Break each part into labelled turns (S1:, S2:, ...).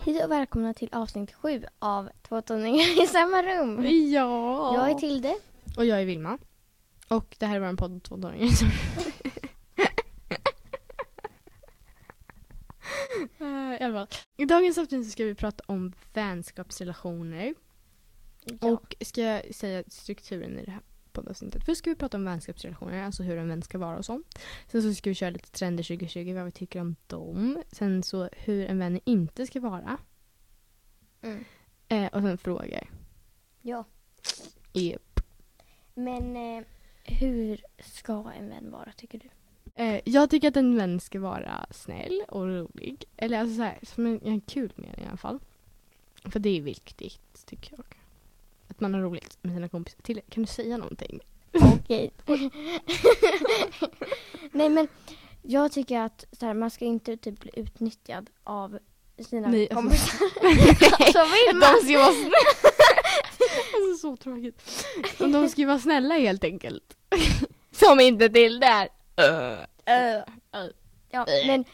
S1: Hej och välkomna till avsnitt sju av Två tonåringar i samma rum.
S2: Ja.
S1: Jag är Tilde.
S2: Och jag är Vilma. Och det här är vår podd om två dagar. Eh, I alla fall. I dagens avsnitt så ska vi prata om vänskapsrelationer. Och ska jag säga strukturen i det här poddavsnittet. Först ska vi prata om vänskapsrelationer, alltså hur en vän ska vara och sånt. Sen så ska vi köra lite trender 2020, vad vi tycker om dem. Sen så hur en vän inte ska vara.
S1: Mm.
S2: Eh, och sen frågor.
S1: Ja.
S2: Yep.
S1: Men eh, hur ska en vän vara tycker du?
S2: Eh, jag tycker att en vän ska vara snäll och rolig. Eller alltså så här, som en, en kul mening i alla fall. För det är viktigt, tycker jag. Att man har roligt med sina kompisar. Till, kan du säga någonting?
S1: Okej. Nej men jag tycker att så här, man ska inte typ bli utnyttjad av sina
S2: Nej, alltså-
S1: kompisar.
S2: Alltså,
S1: Så vill man.
S2: ska vara snälla. alltså, så tråkigt. Men De ska ju vara snälla helt enkelt. som inte till där.
S1: Eh, ja, men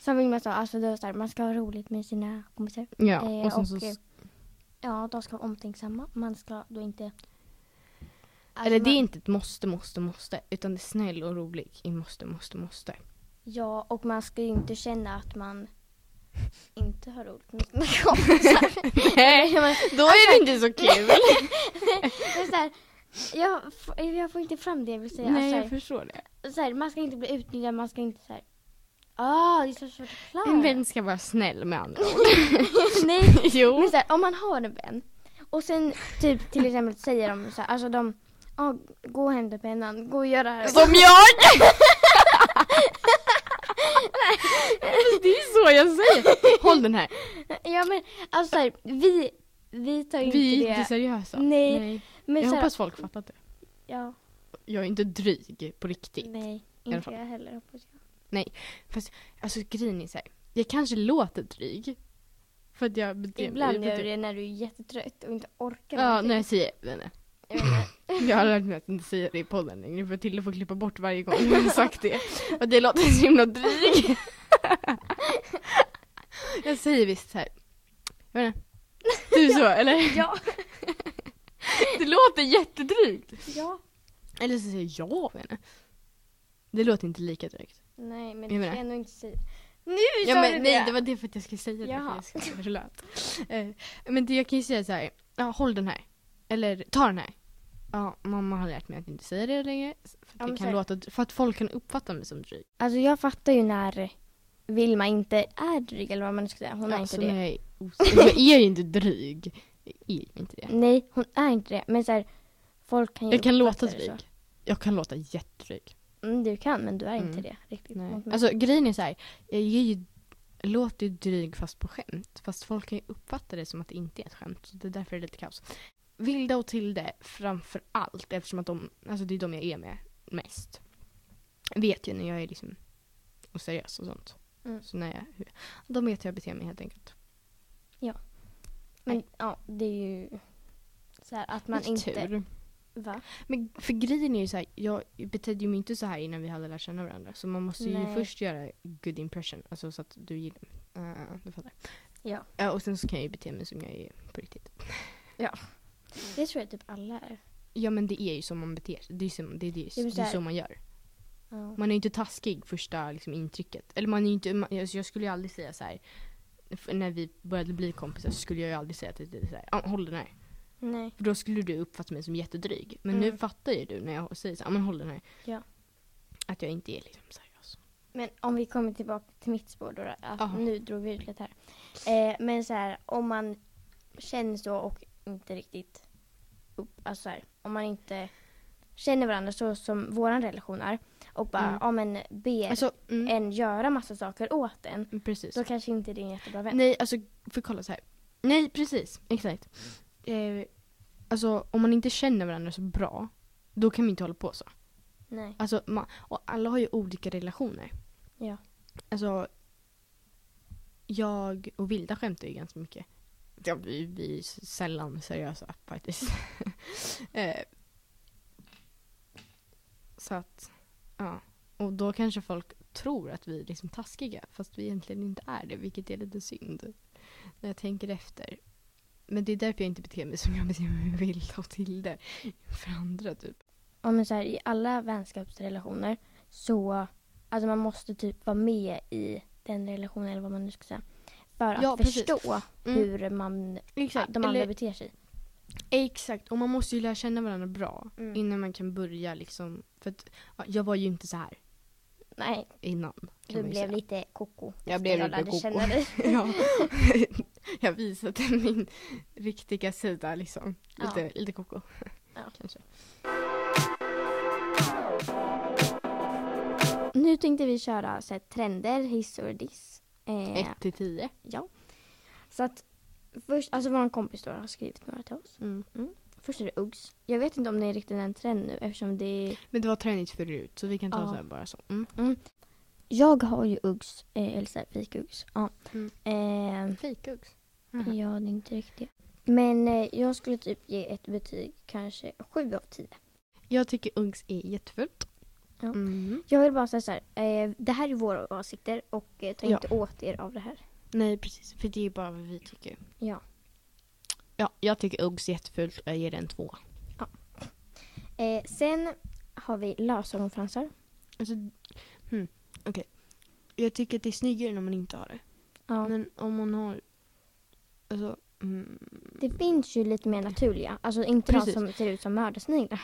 S1: som Vilma sa, alltså, det är så här, man ska ha roligt med sina kompisar.
S2: Ja,
S1: Eh,
S2: och sen så...
S1: och, eh, Ja, de ska vara omtänksamma. Man ska då inte... Alltså,
S2: eller det är
S1: man-
S2: inte ett måste, måste, måste. Utan det är snäll och rolig i måste, måste, måste.
S1: Ja, och man ska ju inte känna att man inte har roligt med sina kompisar.
S2: Nej,
S1: Men-
S2: då är det inte så kul.
S1: det är så här, jag, f- jag får inte fram det jag vill säga.
S2: Nej,
S1: så
S2: jag
S1: här,
S2: förstår det.
S1: så här, man ska inte bli utnyttjad, man ska inte så här... Ah, det är så svårt att förklara.
S2: En vän ska vara snäll med andra ord.
S1: Nej,
S2: jo.
S1: men så här, om man har en vän och sen typ till exempel säger de så här, alltså de, ah, gå och hämta pennan, gå och gör det här.
S2: Som jag! det är så jag säger. Håll den här.
S1: Ja men alltså så här, vi, vi tar ju inte
S2: Vi är
S1: det.
S2: inte seriösa.
S1: Nej, men
S2: Jag
S1: så här,
S2: hoppas folk fattat det.
S1: ja,
S2: Jag är inte dryg på riktigt.
S1: nej,
S2: alla
S1: inte
S2: fall.
S1: jag heller hoppas jag.
S2: Alltså grejen är så här. Jag kanske låter dryg. För att jag beter
S1: Ibland gör
S2: beter-
S1: du det när du är jättetrött och inte orkar
S2: typ. Ja,
S1: någonting.
S2: när jag säger det.
S1: Jag menar,
S2: Jag har lärt mig att inte säga det i podden längre för Tilde får klippa bort varje gång jag har sagt det. Och det låter så himla dryg. Jag säger visst så här. Jag menar, du så eller?
S1: Ja,
S2: Det låter jättedrygt.
S1: ja.
S2: Eller så säger jag jag menar. Det låter inte lika drygt.
S1: Nej men
S2: Jag
S1: du
S2: menar-
S1: kan ändå inte säga. Nu
S2: Ja,
S1: sa
S2: men,
S1: du
S2: nej
S1: det!
S2: det var det för att jag skulle säga det.
S1: Jaha.
S2: För jag skulle vara lät. Eh, Men det, jag kan ju säga så här. Ja, håll den här. Eller ta den här. Ja, mamma har lärt mig att inte säga det längre. För
S1: Ja,
S2: att,
S1: men så
S2: det kan
S1: här-
S2: låta, för att folk kan uppfatta mig som dryg.
S1: Alltså jag fattar ju när Vilma inte är dryg eller vad man ska säga. Hon är
S2: Alltså,
S1: inte det.
S2: när Jag är, osäker. jag är ju inte dryg. Jag är ju inte det.
S1: Nej, hon är inte det. Men så här, folk kan ju
S2: Jag kan låta
S1: uppfatta det
S2: dryg. Jag kan låta jättedryg.
S1: så. Mm, du kan men du är inte
S2: Mm.
S1: det riktigt.
S2: Nej.
S1: mot mig.
S2: Alltså grejen är så här. Jag är ju, låter ju dryg fast på skämt. Fast folk kan ju uppfatta det som att det inte är ett skämt. Så det är därför det är lite kaos. Vilda och Tilde framför allt eftersom att de, alltså det är de jag är med mest. Vet ju när jag är liksom oseriös och sånt.
S1: Mm.
S2: Så när jag, de vet hur jag beter mig helt enkelt.
S1: men ja, det är ju så här att man
S2: Lite
S1: inte...
S2: tur.
S1: Va?
S2: Men för grejen är ju så här, jag betedde ju mig inte så här innan vi hade lärt känna varandra. Så man måste ju
S1: Nej.
S2: först göra good impression, alltså så att du gillar mig. Eh, du fattar.
S1: Ja.
S2: Eh, och sen så kan jag ju bete mig som jag är på riktigt.
S1: Det tror jag typ alla är.
S2: Ja men det är ju så man beter sig, det är ju så, det är, det är,
S1: Ja, men så
S2: det är
S1: här-
S2: så man gör.
S1: Ja.
S2: Man är ju inte taskig första liksom, intrycket. Eller man är ju inte, man, alltså, jag skulle ju aldrig säga så här. f- När vi började bli kompisar så skulle jag ju aldrig säga till dig såhär, ah, håll den här.
S1: Nej.
S2: För då skulle du uppfatta mig som jättedryg. Men
S1: Mm.
S2: nu fattar ju du när jag säger såhär, ah, men håll den här.
S1: Ja.
S2: Att jag inte är liksom seriös.
S1: Men om vi kommer tillbaka till mitt spår då. då, Att
S2: Ja. Mm.
S1: Nu drog vi ut lite här. Eh, men så här, om man känner så och inte riktigt upp, alltså så här, om man inte känner varandra så som våran relation är och bara
S2: Mm.
S1: ja, men ber
S2: Alltså, mm,
S1: en göra massa saker åt en.
S2: precis.
S1: Då kanske inte det är en jättebra vän.
S2: Nej, alltså, för kolla så här. Nej, precis. Exakt.
S1: Mm.
S2: Eh, alltså, om man inte känner varandra så bra, då kan man inte hålla på så.
S1: Nej.
S2: Alltså, man, och alla har ju olika relationer.
S1: Ja.
S2: Alltså, jag och Vilda skämtar ju ganska mycket. Ja, vi, vi är sällan seriösa faktiskt. eh, så att, ja. Och då kanske folk tror att vi är liksom taskiga, fast vi egentligen inte är det, vilket är lite synd. när jag tänker efter. Men det är därför jag inte beter mig som jag beter mig vill av till det. För andra typ.
S1: Ja, men så här, I alla vänskapsrelationer så alltså man måste typ vara med i den relationen eller vad man nu ska säga. För att
S2: Ja, precis.
S1: förstå
S2: Mm.
S1: hur man,
S2: Exakt.
S1: de andra
S2: eller,
S1: beter sig.
S2: exakt. Och man måste ju lära känna varandra bra
S1: Mm.
S2: innan man kan börja liksom. För att, ja, jag var ju inte så här
S1: Nej,
S2: innan. Kan
S1: du
S2: man ju
S1: blev
S2: säga.
S1: lite koko.
S2: Jag blev
S1: när
S2: lite
S1: lärde
S2: koko.
S1: känna dig.
S2: ja. jag visade min riktiga sida liksom.
S1: Ah,
S2: Lite, lite koko.
S1: Ja.
S2: Kanske.
S1: Nu tänkte vi köra så här, trender, hiss och diss. Eh,
S2: Ett till tio.
S1: Ja. Så att först, alltså vår kompis då har skrivit några till oss.
S2: Mm.
S1: Först är det Uggs. Jag vet inte om det är riktigt en trend nu eftersom det är...
S2: Men det var tränigt förut så vi kan ta
S1: Ja.
S2: så här bara så. Mm.
S1: Jag har ju Uggs, eh, eller såhär fik-Uggs. Ja.
S2: Mm.
S1: Eh,
S2: Fejkuggs. Mm.
S1: ja, det är inte riktigt. Men eh, jag skulle typ ge ett betyg kanske 7 av 10.
S2: Jag tycker Uggs är jättefult.
S1: Ja.
S2: Mm.
S1: Jag vill bara säga såhär, eh, det här är våra åsikter och eh, ta
S2: Ja.
S1: inte åt er av det här.
S2: Nej precis, för det är bara vad vi tycker.
S1: Ja.
S2: Ja, jag tycker Uggs är jättefult och jag ger den två.
S1: Eh, sen har vi lösögonfransar.
S2: Alltså, hmm. okej. Jag tycker att det är snyggare när man inte har det.
S1: Ja.
S2: Men om man har... Alltså, mm,
S1: Det finns ju lite mer naturliga, alltså inte
S2: Precis.
S1: de som ser ut som mördarsniglar.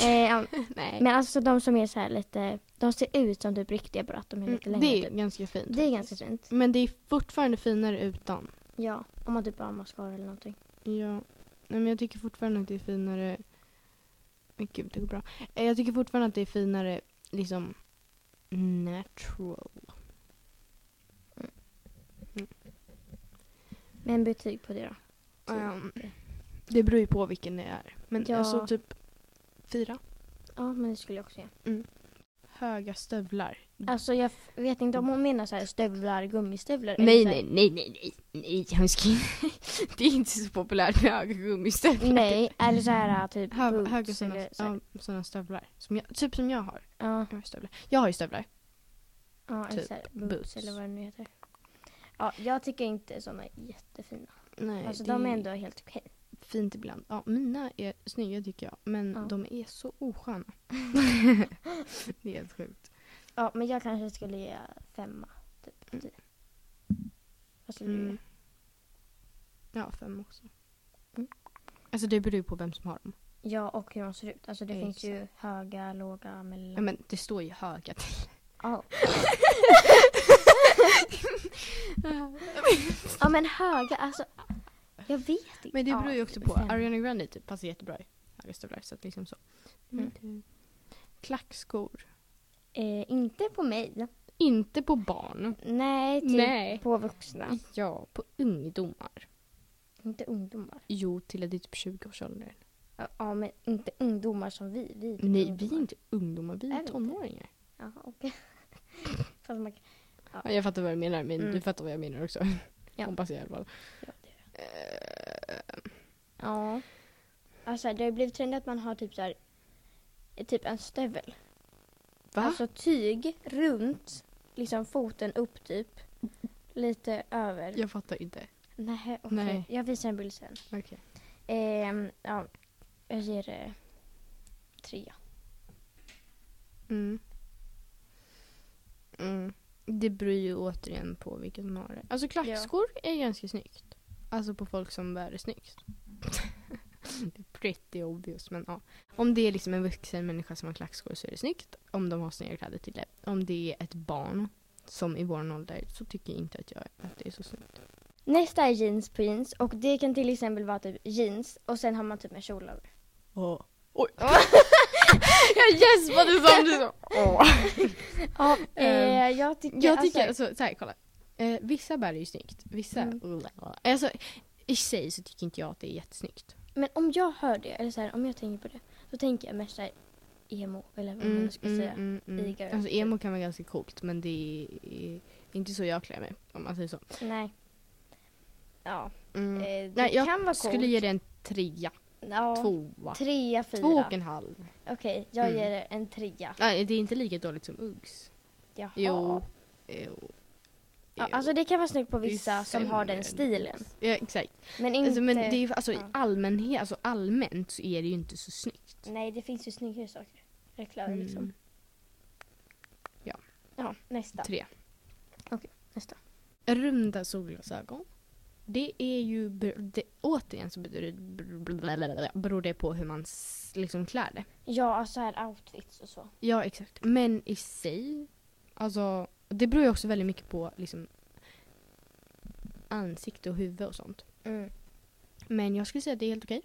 S1: eh,
S2: nej.
S1: men alltså de som är så här lite, de ser ut som typ riktiga bara att de är lite längre.
S2: Mm, det är
S1: typ.
S2: ganska fint.
S1: det är ganska fint.
S2: Men det är fortfarande finare utan.
S1: Ja, om man typ bara har mascara eller någonting.
S2: Ja. Nej, men jag tycker fortfarande att det är finare... Men gud, det går bra. Eh, Jag tycker fortfarande att det är finare liksom natural. typ.
S1: Men betyg på det då. Typ.
S2: Ehm, det beror ju på vilken det är. Men
S1: Ja.
S2: alltså typ fyra.
S1: Ja, men det skulle jag också göra.
S2: Höga stövlar.
S1: Mm. Alltså jag f- vet inte om hon menar så här stövlar, gummistövlar. eller
S2: Nej,
S1: så här-
S2: nej, nej, nej, nej, nej, jag ska... Det är inte så populärt med höga gummistövlar.
S1: Nej, eller så här typ
S2: Hö,
S1: boots
S2: höga
S1: eller
S2: sådana,
S1: så här.
S2: ja, sådana stövlar. Som jag, typ som jag har.
S1: Ja,
S2: Jag har, stövlar. jag har ju stövlar.
S1: ja eller
S2: typ
S1: så här boots,
S2: boots.
S1: eller vad det nu heter. Ja, jag tycker inte sådana är jättefina.
S2: Nej,
S1: alltså
S2: det
S1: de är ändå helt okej.
S2: fint ibland. Ja, mina är snygga tycker jag. Men
S1: Ja.
S2: de är så osköna. det är helt sjukt.
S1: Ja, men jag kanske skulle ge femma. Typ. av tio. Vad skulle du
S2: Mm.
S1: ge?
S2: Ja, fem också.
S1: Mm.
S2: Alltså det beror ju på vem som har dem.
S1: Ja, och hur de ser ut. Alltså det
S2: Ja,
S1: finns ju höga, låga,
S2: Ja,
S1: mellan...
S2: men det står ju höga till.
S1: Ja, ja, men höga, alltså. Jag vet inte.
S2: Men det
S1: Ja,
S2: beror ju också
S1: typ
S2: på.
S1: fem.
S2: Ariana Grande typ passar jättebra i höga stövlar. Så att liksom så.
S1: Mm.
S2: Mm. Klackskor.
S1: Eh, inte på mig.
S2: Inte på barn.
S1: Nej, typ
S2: Nej.
S1: på vuxna.
S2: Ja, på ungdomar.
S1: Inte ungdomar.
S2: Jo, till att det är typ 20-årsåldern.
S1: Ja, Ja, men inte ungdomar som vi. vi är typ
S2: Nej, vi är
S1: ungdomar.
S2: inte ungdomar, vi
S1: Är vi
S2: är
S1: inte?
S2: tonåringar.
S1: Ja, okej. Fast man kan...
S2: Ja, jag fattar vad du menar, men
S1: Mm.
S2: du fattar vad jag menar också.
S1: Ja.
S2: Hoppas jag i alla fall. Eh,
S1: Ja, det gör jag. Ja. Alltså det har ju blivit trend att man har typ så här, typ en stövel.
S2: Va?
S1: Alltså tyg runt liksom foten upp typ. Lite över.
S2: jag fattar inte.
S1: Nej, okej.
S2: Nej.
S1: Jag visar en bild sen.
S2: Okej.
S1: Ehm, ja, jag ger eh, det trea.
S2: Mm. Mm. Det beror ju återigen på vilken som har det. Alltså klackskor är ganska snyggt. Alltså på folk som bär det snyggt. det är pretty obvious men ja. Om det är liksom en vuxen människa som har klackskor så är det snyggt. Om de har snygga kläder till det. Om det är ett barn som i vår ålder så tycker jag inte att, jag, att det är så snyggt.
S1: Nästa är jeans på jeans och det kan till exempel vara typ jeans och sen har man typ en kjol över.
S2: Oh. Oj! jag gäspade samtidigt. Åh.
S1: Ja, eh,
S2: Ehm,
S1: jag tycker,
S2: Jag tycker,
S1: alltså-
S2: alltså, så här, kolla. Eh, vissa bär är ju snyggt. Vissa...
S1: Mm.
S2: Alltså, I sig så tycker inte jag att det är jättesnyggt.
S1: Men om jag hör det, eller så här, om jag tänker på det, då tänker jag mest så här, emo eller vad man nu ska säga.
S2: mm, mm.
S1: Igor.
S2: Alltså emo kan vara ganska coolt men det är inte så jag klär mig om man säger så.
S1: Nej. Ja,
S2: Mm.
S1: eh, det
S2: Nej, jag
S1: kan vara coolt.
S2: Skulle ge det en trea,
S1: ja,
S2: tvåa,
S1: Trea, fyra.
S2: två och
S1: Okej,
S2: en halv.
S1: jag
S2: Mm.
S1: ger det en trea.
S2: Nej, det är inte lika dåligt som Uggs.
S1: Jaha.
S2: Jo. Jo.
S1: Ja, alltså det kan vara snyggt på vissa
S2: Vissa
S1: som har den
S2: är-
S1: stilen.
S2: ja, exakt.
S1: Men inte...
S2: Alltså, men det är ju, alltså, i
S1: ja.
S2: allmänhet, alltså, allmänt så är det ju inte så snyggt.
S1: Nej, det finns ju snyggare saker. Reklam liksom.
S2: Mm.
S1: Ja, nästa.
S2: Tre.
S1: Okej, nästa.
S2: Runda solglasögon. Det är ju, ber- det, återigen så beror- beror det på hur man s- liksom klär det.
S1: Ja, alltså här outfits och så.
S2: Ja, exakt. Men i sig, alltså det beror ju också väldigt mycket på liksom ansikte och huvud och sånt.
S1: Mm.
S2: Men jag skulle säga att det är helt okej.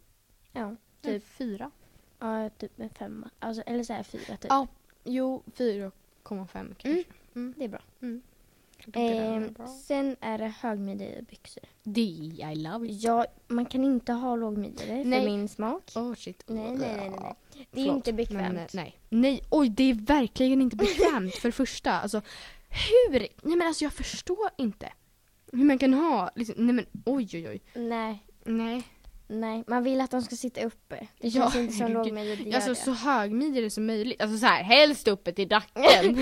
S1: Ja,
S2: Typ
S1: Mm.
S2: fyra.
S1: ja, typ en femma. Alltså, eller så här fyra typ.
S2: Ja. Jo, 4,5 kanske.
S1: Mm.
S2: Mm.
S1: Det är bra.
S2: Jag tycker den är
S1: Ehm,
S2: bra.
S1: sen är det högmidjiga byxor.
S2: Det, I love it.
S1: Ja, man kan inte ha lågmidjor för
S2: Nej.
S1: min smak.
S2: Oh shit.
S1: Nej, nej, nej, nej, nej. Det är ju
S2: Förlåt,
S1: inte bekvämt.
S2: Men, eh, nej. nej, oj det är verkligen inte bekvämt för det första. Alltså hur? Nej men alltså jag förstår inte. Hur man kan ha, liksom, nej men oj oj oj.
S1: nej,
S2: Nej.
S1: nej. Man vill att de ska sitta uppe. Det
S2: Ja,
S1: känns inte som
S2: herregud.
S1: lågmidjor, det gör
S2: Alltså
S1: det.
S2: så högmidjade som möjligt. Alltså så här, helst uppe till dacken.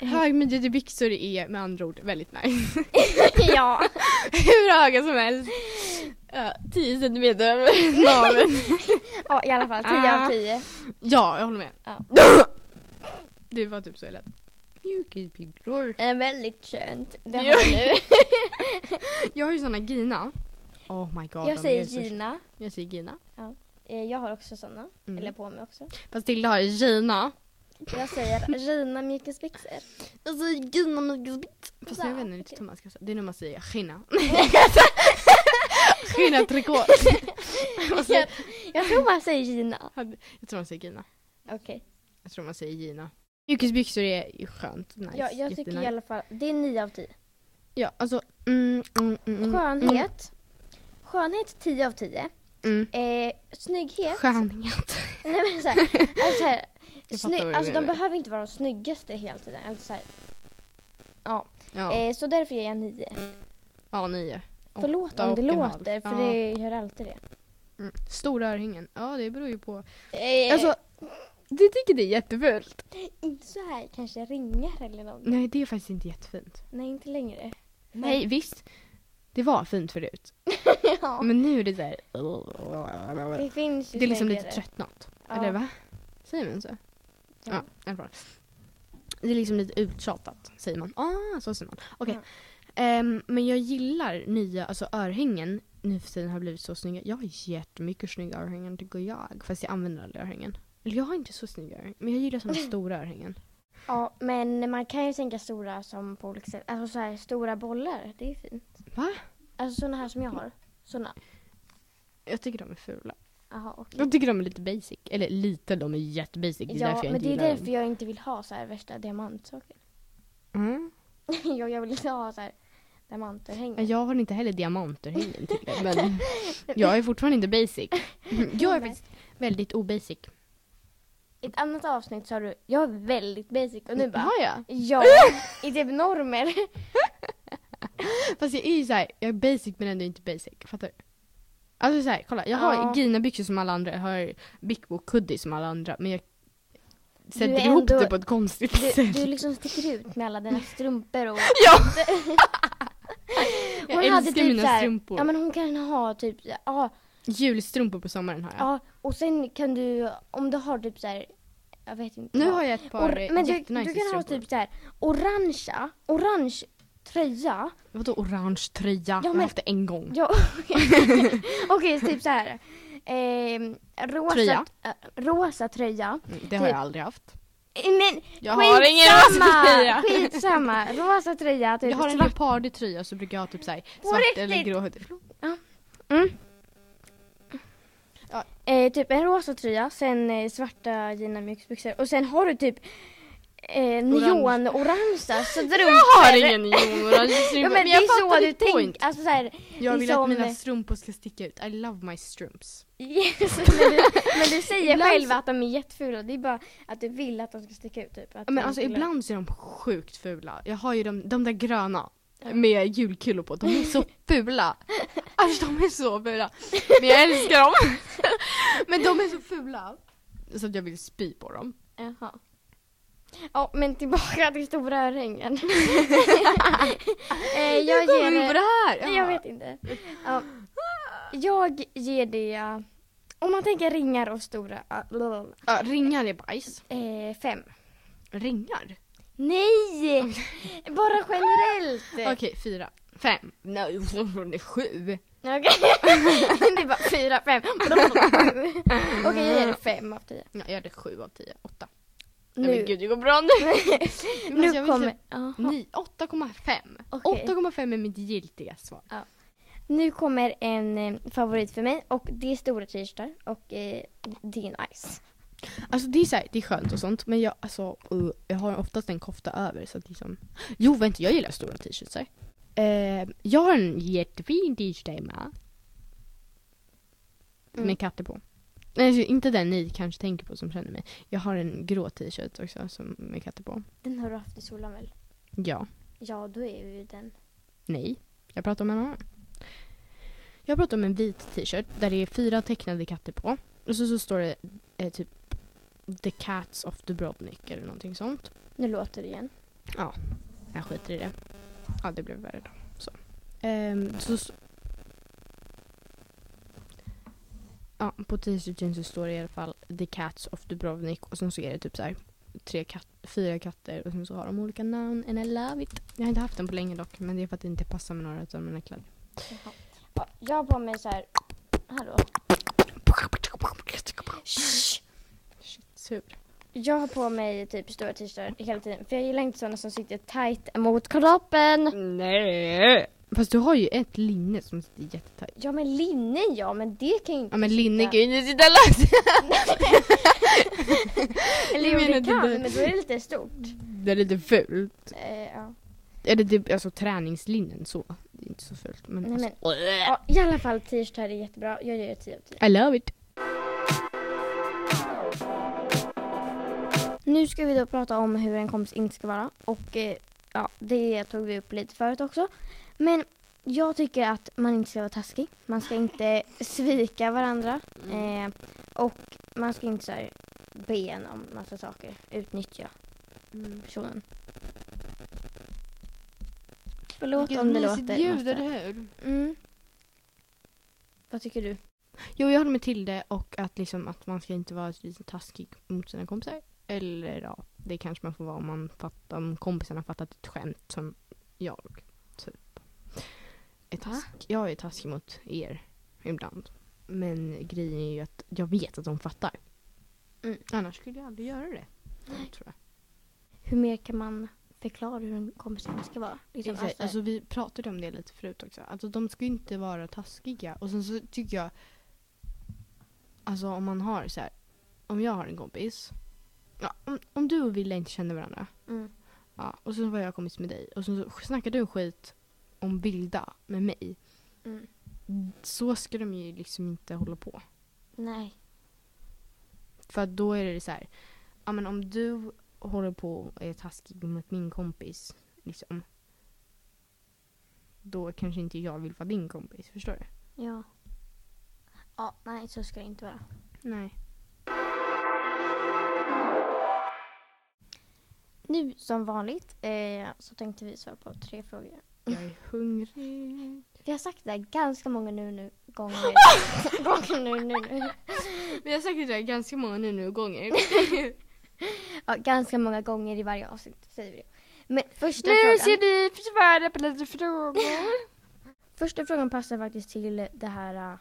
S2: högmidjade byxor är med andra ord väldigt nice.
S1: ja.
S2: Hur höga som helst. Ja, 10 centimeter över naveln.
S1: ja, i alla fall. 10 av
S2: Ah.
S1: 10.
S2: Ja, jag håller med.
S1: Ja.
S2: Det var typ så jag lät. Mjukisbyxor.
S1: Är Eh, väldigt skönt. Det
S2: Ja.
S1: har du.
S2: Jag har ju såna Gina. Oh my god. de är
S1: Jag säger
S2: så-
S1: Gina.
S2: Jag säger Gina.
S1: Eh, Jag har också såna.
S2: Mm.
S1: Eller på mig också.
S2: Fast Tilda har ju Gina.
S1: Jag säger Gina mjukisbyxor.
S2: Jag säger Gina mjukisbyxor. Fast
S1: Så,
S2: jag vet inte riktigt
S1: okej.
S2: hur man ska säga. Det är när man säger Gina. Gina trikå. Vad säger-
S1: Jag, jag tror man säger Gina.
S2: Jag tror man säger Gina.
S1: Okej.
S2: Jag tror man säger Gina. Mjukisbyxor är ju skönt, nice,
S1: ja, jag tycker i
S2: jättenice.
S1: alla fall, det är 9 av 10.
S2: Ja, alltså... Mm, mm, mm, mm, Mm,
S1: Skönhet. Skönhet 10 av 10.
S2: mm.
S1: Eh, snygghet.
S2: Skönhet.
S1: Nej men såhär. Alltså, så här,
S2: Jag fattar vad
S1: sny-
S2: du
S1: alltså de
S2: menar.
S1: behöver inte vara de snyggaste hela tiden. Alltså, så, här.
S2: Ja,
S1: Eh, så därför ger jag 9.
S2: ja nio.
S1: Förlåt
S2: Åtta
S1: om det
S2: och en halv.
S1: låter, för
S2: Ja.
S1: det gör alltid det.
S2: Mm. Stora örhängen. Ja, det beror ju på.
S1: Eh,
S2: Alltså, du tycker det är jättefult?
S1: inte så här kanske ringar eller något.
S2: Nej, det är faktiskt inte jättefint.
S1: Nej, inte längre.
S2: Nej, visst. Det var fint förut.
S1: ja.
S2: Men nu är det där...
S1: Det finns ju
S2: Det är liksom lite
S1: snyggare.
S2: tröttnat.
S1: Ja.
S2: Eller va? Säger man så? Ja, i alla fall. Det är liksom lite uttjatat, säger man. Ah, så säger man. Okej. Ehm, men jag gillar nya, alltså örhängen nu för tiden har blivit så snygga. Jag har jättemycket snygga örhängen tycker jag. Fast jag använder aldrig örhängen. Eller jag har inte så snygga örhängen. Men jag gillar såna stora örhängen.
S1: Ja, men man kan ju tänka stora som på olika sätt. Alltså så här stora bollar, det är ju fint.
S2: Va?
S1: Alltså såna här som jag har. Såna.
S2: Jag tycker de är fula.
S1: Jaha, okej.
S2: Jag tycker de är lite basic. Eller lite, de är jättebasic. Det är
S1: Ja,
S2: därför jag
S1: men
S2: inte
S1: det är
S2: gillar
S1: därför
S2: dem.
S1: jag inte vill ha så här värsta diamantsaker.
S2: Mm.
S1: jag, jag vill inte ha så här
S2: Ja,
S1: diamantörhängen.
S2: Jag har inte heller diamantörhängen till det, men jag är fortfarande inte basic. Jag är faktiskt väldigt obasic.
S1: I ett annat avsnitt sa du, jag är väldigt basic och nu bara,
S2: Har jag?
S1: ja, i typ normer.
S2: Fast jag är ju såhär, jag är basic men ändå inte basic. Fattar du? Alltså såhär, kolla. Jag har
S1: Ja.
S2: Gina-byxor som alla andra, jag har Big Bo hoodie som alla andra. Men jag sätter
S1: är
S2: ihop
S1: ändå-
S2: det på ett konstigt
S1: Du,
S2: sätt.
S1: du liksom sticker ut med alla dina strumpor och
S2: Ja!
S1: Hon
S2: jag
S1: hade
S2: älskar
S1: typ
S2: mina
S1: så här-
S2: strumpor.
S1: Ja men hon kan ha typ, ja,
S2: Julstrumpor på sommaren har jag.
S1: ja och sen kan du, om du har typ så här, jag vet inte.
S2: Nu
S1: vad.
S2: har jag ett par
S1: Or-
S2: eh,
S1: men du,
S2: jättenice
S1: du kan ha
S2: strumpor.
S1: typ så här, orangea, orange tröja.
S2: Vadå orange tröja? jag
S1: men-
S2: har haft det en gång.
S1: Ja, Okej, så typ så här. ehm, rosa,
S2: Tröja.
S1: eh, rosa tröja.
S2: Mm, Det har
S1: Typ.
S2: jag aldrig haft.
S1: Eh, Men
S2: Jag har ingen
S1: skitsamma!
S2: rosa tröja.
S1: Skitsamma! Rosa tröja, typ
S2: Jag har en
S1: svart.
S2: leopardtröja så brukar jag ha typ såhär
S1: På
S2: svart
S1: riktigt?
S2: eller grå hoodie.
S1: Eh, typ en rosa tröja, sen eh, svarta Gina mjukisbyxor och sen har du typ eh, neonorangea strumpor.
S2: Jag har ingen alltså, neonorange
S1: Ja,
S2: strumpa
S1: men det är
S2: fattar
S1: så du
S2: ditt point.
S1: tänker. Alltså såhär,
S2: Jag vill att
S1: Liksom-
S2: mina strumpor ska sticka ut. I love my strumps.
S1: yes, men, du, men du säger
S2: Ibland
S1: själv
S2: så-
S1: att de är jättefula. Det är bara att du vill att de ska sticka ut. Typ, att
S2: Men
S1: de
S2: alltså
S1: skulle-
S2: ibland så är de sjukt fula. Jag har ju de, de där gröna
S1: Ja.
S2: med julkulor på. De är så fula. Alltså de är så fula. Men jag älskar dem. Men de är så fula. Så att jag vill spy på dem.
S1: Jaha. Ja, men tillbaka till stora öringen. eh, jag
S2: Hur kommer
S1: ger
S2: vi
S1: det...
S2: på det här?
S1: Nej, Jag vet inte. Ja. Jag ger det... eh, Om man tänker ringar och stora... ah, blablabla.
S2: Ja, ringar är bajs.
S1: Eh, fem.
S2: Ringar?
S1: Nej! Bara generellt.
S2: Okej, fyra. Fem. Nej, det är sju.
S1: Okej. det är bara fyra, fem. Okej, jag ger det fem av tio.
S2: Ja, jag hade sju av tio. Åtta. Nej,
S1: Nu,
S2: men gud, det går bra nu. Men alltså, jag
S1: nu
S2: vill
S1: kommer...
S2: typ-
S1: Jaha.
S2: Nej, 8,5.
S1: Okej.
S2: 8,5 är mitt giltiga svar.
S1: Nu kommer en eh, favorit för mig och det är stora t-shirtar och eh, det är nice.
S2: Alltså det är, så här, det är skönt och sånt men jag, alltså, uh, jag har oftast en kofta över så att liksom... Jo vänta, jag gillar stora t-shirts. Eh, jag har en jättefin t-shirt hemma.
S1: Mm.
S2: Med katter på. Nej, alltså, inte den ni kanske tänker på som känner mig. Jag har en grå t-shirt också som med katter på.
S1: Den har du haft i solen väl?
S2: Ja.
S1: Ja, då är ju den.
S2: Nej. Jag pratar om en annan. Jag pratar om en vit t-shirt där det är fyra tecknade katter på. Och så, så står det eh, typ The Cats of Dubrovnik eller någonting sånt.
S1: Nu låter det igen.
S2: Jag skiter i det. Ja, det blev värre då. Så. Ehm, så, s- ja, på t-shirten så står det i alla fall The Cats of Dubrovnik och sen så är det typ så här tre kat- fyra katter och sen så har de olika namn and I love it. Jag har inte haft den på länge dock men det är för att det inte passar med några av mina kläder.
S1: Ja, Jag har på mig så här. Hallå. Shh.
S2: Shit, sur.
S1: Jag har på mig typ stora t-shirtar hela tiden för jag gillar inte sådana som sitter tight mot kroppen.
S2: Nej! Fast du har ju ett linne som sitter jättetajt.
S1: Ja men linnen ja, men det kan ju inte
S2: Ja men linne
S1: sitta-
S2: kan ju inte sitta löst.
S1: Eller
S2: Jag
S1: jo
S2: menar
S1: det
S2: inte
S1: kan,
S2: det.
S1: men då är det lite stort.
S2: Det är lite fult.
S1: Eh, ja.
S2: Eller det, alltså träningslinnen så. Det är inte så fult. Men,
S1: Nej,
S2: alltså,
S1: ja, i alla fall t-shirtar är jättebra. Jag gör 10 av 10.
S2: I love it.
S1: Nu ska vi då prata om hur en kompis inte ska vara. Och eh, ja, det tog vi upp lite förut också. Men jag tycker att man inte ska vara taskig. Man ska inte svika varandra.
S2: Mm.
S1: Eh, och man ska inte så här, be en om massa saker. Utnyttja personen. Förlåt om det låter
S2: ljud, eller
S1: något.
S2: hur?
S1: Mm. Vad tycker du?
S2: Jo, jag håller med till det och att, liksom, att man ska inte vara lite taskig mot sina kompisar. Eller ja, det kanske man får vara om, man fattar, om kompisarna har fattat ett skämt som jag, typ. Är task. Jag är taskig mot er ibland. Men grejen är ju att jag vet att de fattar.
S1: Mm.
S2: Annars skulle jag aldrig göra det. Tror jag.
S1: Hur mer kan man förklara hur en kompis inte ska vara? Liksom,
S2: Exakt. Alltså, vi pratade om det lite förut också. Alltså de ska ju inte vara taskiga. Och sen så tycker jag, alltså om man har så här, om jag har en kompis, ja, om, om du och Wille inte känner varandra,
S1: mm.
S2: ja, och så var jag kompis med dig och sen så snackar du skit om Vilda med mig.
S1: Mm.
S2: Så ska de ju liksom inte hålla på.
S1: Nej.
S2: För att då är det så här, ja men om du håller på och är taskig mot min kompis, liksom. Då kanske inte jag vill vara din kompis, förstår du?
S1: Ja. Ja, nej så ska det inte vara.
S2: Nej.
S1: Nu som vanligt eh, så tänkte vi svara på tre frågor.
S2: Jag är hungrig.
S1: Vi har sagt det här ganska många nu nu gånger. gånger nu nu nu.
S2: Vi har säkert det ganska många nu nu gånger.
S1: Ja, ganska många gånger i varje avsnitt säger vi det. Men första
S2: nu
S1: frågan.
S2: ser ni svara på lite frågor.
S1: Första frågan passar faktiskt till det här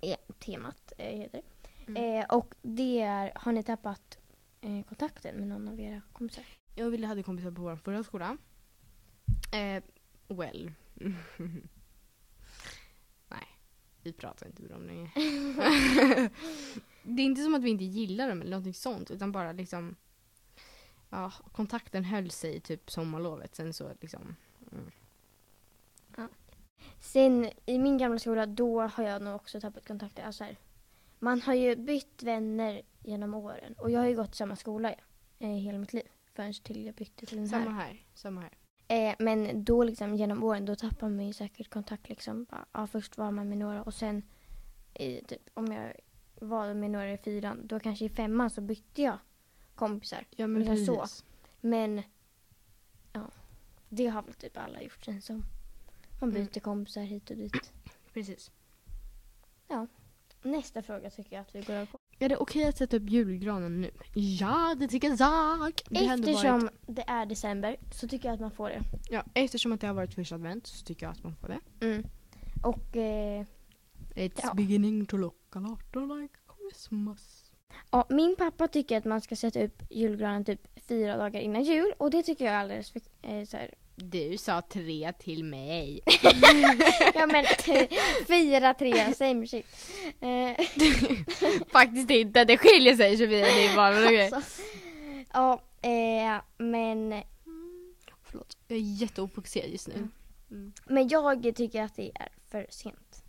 S1: eh, temat. Eh, heter det.
S2: Mm.
S1: Eh, och det är, har ni tappat eh, kontakten med någon av era kompisar?
S2: Jag och Wille hade kompisar på vår förra skola. Eh, well. Nej, vi pratar inte med dem längre. det är inte som att vi inte gillar dem eller någonting sånt utan bara liksom Ja, kontakten höll sig typ sommarlovet sen så liksom
S1: Sen i min gamla skola, då har jag nog också tappat kontakter. Alltså här, man har ju bytt vänner genom åren och jag har ju gått i samma skola eh, hela mitt liv. Förrän till jag bytte till den
S2: Samma
S1: här.
S2: här, samma här.
S1: Eh, men då liksom genom åren, då tappar man ju säkert kontakt liksom. Bara, Ja, först var man med några och sen i, typ, om jag var med några i fyran, då kanske i femman så bytte jag kompisar.
S2: Ja men
S1: Ungefär
S2: precis.
S1: så. Men ja, det har väl typ alla gjort sen som man byter
S2: Mm.
S1: kompisar hit och dit.
S2: precis.
S1: Nästa fråga tycker jag att vi går över på.
S2: Är det okej att sätta upp julgranen nu? Ja, det tycker jag. Det har ändå
S1: Eftersom
S2: Varit,
S1: det är december så tycker jag att man får det.
S2: ja, eftersom att det har varit första advent så tycker jag att man får det.
S1: Och eh,
S2: It's
S1: Ja.
S2: beginning to look a lot like Christmas.
S1: ja, min pappa tycker att man ska sätta upp julgranen typ fyra dagar innan jul och det tycker jag är alldeles för... Eh, så här.
S2: Du sa tre till mig.
S1: Ja men fyra, tre, same shit. Eh,
S2: Faktiskt inte, det skiljer sig Sofia. Det är bara
S1: Alltså, ja, eh, men,
S2: Förlåt, jag är jätteofokuserad just nu.
S1: Mm. men jag tycker att det är för sent.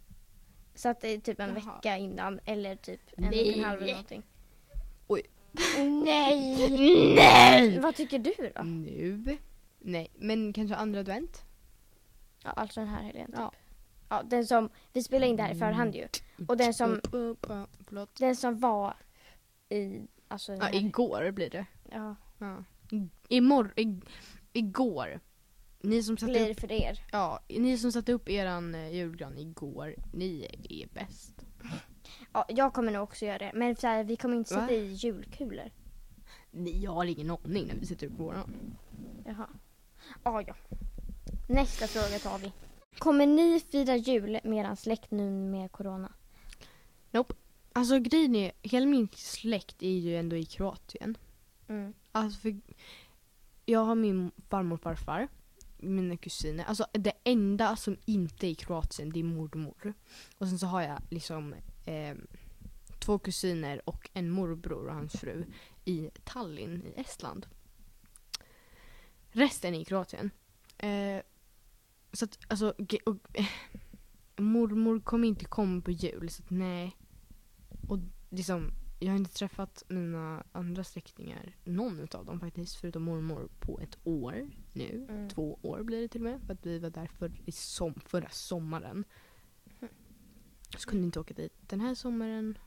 S1: Så att det är typ en
S2: Jaha.
S1: vecka innan eller typ en och
S2: Nej.
S1: en halv eller någonting.
S2: Oj.
S1: Nej!
S2: Nej!
S1: Vad tycker du då?
S2: Nu? Nej, men kanske andra advent?
S1: Ja, alltså den här helgen typ.
S2: Ja.
S1: Ja. den som, vi spelar in det här i förhand ju. Och den som,
S2: Upp, upp, ja, förlåt.
S1: den som var i, alltså den
S2: Ja,
S1: här-
S2: igår blir det.
S1: ja,
S2: Ja. Imorgon, ig- igår. Ni som satte
S1: blir
S2: upp,
S1: för er.
S2: ja, ni som satte upp eran eh, julgran igår, ni är bäst.
S1: Ja, jag kommer nog också göra det. Men så här, vi kommer inte
S2: Va?
S1: sätta i julkulor.
S2: Ni, jag har ingen aning när vi sätter upp våran.
S1: Jaha. Ah, ja. Nästa fråga tar vi. Kommer ni fira jul med er släkt nu med corona?
S2: Alltså grejen är, hela min släkt är ju ändå i Kroatien.
S1: Mm.
S2: Alltså för, jag har min farmor och farfar, mina kusiner. Alltså det enda som inte är i Kroatien det är mormor. Och sen så har jag liksom eh, två kusiner och en morbror och hans fru i Tallinn i Estland. Resten är i Kroatien. Eh, så att alltså, ge- och, eh, mormor kommer inte komma på jul så att nej. Och liksom, jag har inte träffat mina andra släktingar, någon utav dem faktiskt, förutom mormor på ett år nu.
S1: Mm.
S2: Två år blir det till och med, för att vi var där för, i som, förra sommaren.
S1: Mm.
S2: Så kunde inte åka dit den här sommaren.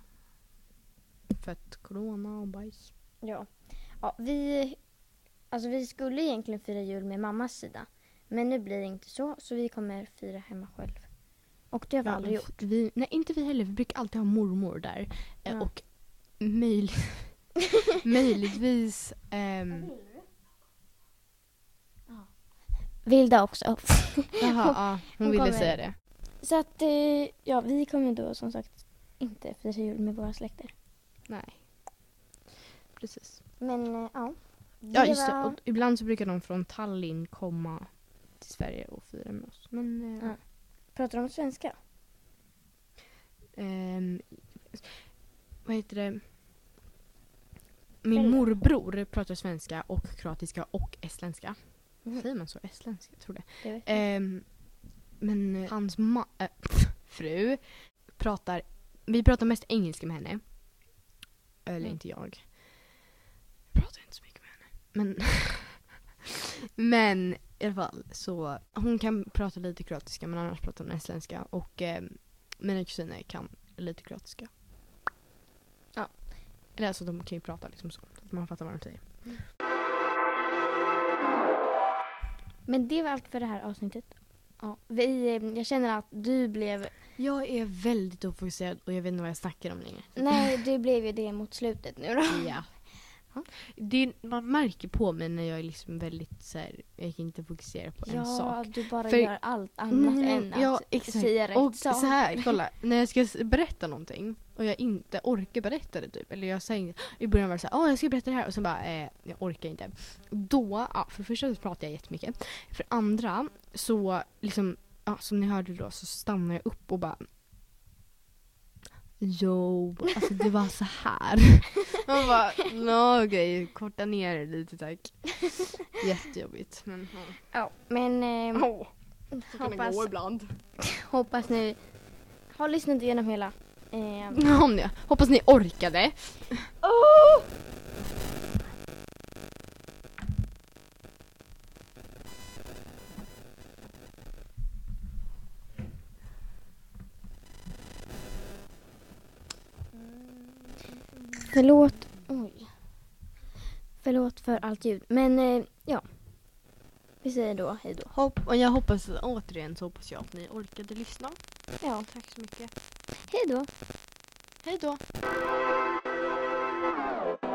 S2: För att corona och bajs.
S1: Ja. ja vi, alltså, vi skulle egentligen fira jul med mammas sida. Men nu blir det inte så, så vi kommer fira hemma själv. Och det har vi aldrig gjort.
S2: Vi, nej, inte vi heller. Vi brukar alltid ha mormor där. Eh,
S1: Ja.
S2: Och möj, möjligtvis... ehm,
S1: Vilda också.
S2: jaha, ja, hon,
S1: Hon
S2: ville
S1: kommer.
S2: säga det.
S1: Så att, eh, ja, vi kommer då som sagt inte fira jul med våra släkter.
S2: Nej. Precis.
S1: Men eh, ja.
S2: Ja, just det.
S1: var-
S2: Och ibland så brukar de från Tallinn komma till Sverige och fira med oss. Men... eh,
S1: Ja. Pratar de svenska?
S2: Ehm, vad heter det? Min
S1: Föräldrar.
S2: morbror pratar svenska och kroatiska och estländska.
S1: Mhm.
S2: Säger man så? Estländska? Jag tror det.
S1: Det vet jag.
S2: Ehm, men eh, hans ma- eh, fru pratar... Vi pratar mest engelska med henne. Eller
S1: Mm.
S2: inte jag. Jag pratar inte så mycket med henne. Men, men i alla fall så... Hon kan prata lite kroatiska men annars pratar hon estländska. Och eh, mina kusiner kan lite kroatiska.
S1: Ja.
S2: Eller alltså de kan ju prata liksom så. Att man fattar vad de säger.
S1: Men det var allt för det här avsnittet. Ja, vi, eh, jag känner att du blev...
S2: Jag är väldigt ofokuserad och jag vet inte vad jag snackar om längre.
S1: Nej, du blev ju det mot slutet nu då.
S2: Ja. Det, är- man märker på mig när jag är liksom väldigt så här, jag kan inte fokusera på en
S1: Ja,
S2: sak.
S1: du bara
S2: För-
S1: gör allt annat
S2: Mm,
S1: än att
S2: ja, exakt.
S1: säga rätt
S2: Och
S1: sak.
S2: så här, kolla, när jag ska s- berätta någonting och jag inte orkar berätta det typ, eller jag säger i början var det såhär, åh jag ska berätta det här och sen bara, eh, jag orkar inte. Då, ja, för det första så pratar jag jättemycket. För det andra så, liksom, ja, som ni hörde då så stannar jag upp och bara Jo, alltså det var så här. Man bara, nå okej, korta ner det lite tack. Jättejobbigt. Men,
S1: Ja, men eh,
S2: oh,
S1: hoppas,
S2: ibland.
S1: hoppas ni har lyssnat igenom hela. Eh,
S2: Om ni, hoppas ni orkade.
S1: förlåt. Oj. Förlåt för allt ljud. Men eh, ja. Vi säger då hej då.
S2: Hopp, och jag hoppas, återigen så hoppas jag att ni orkade lyssna.
S1: Ja,
S2: Tack så mycket.
S1: hej då.
S2: Hej då.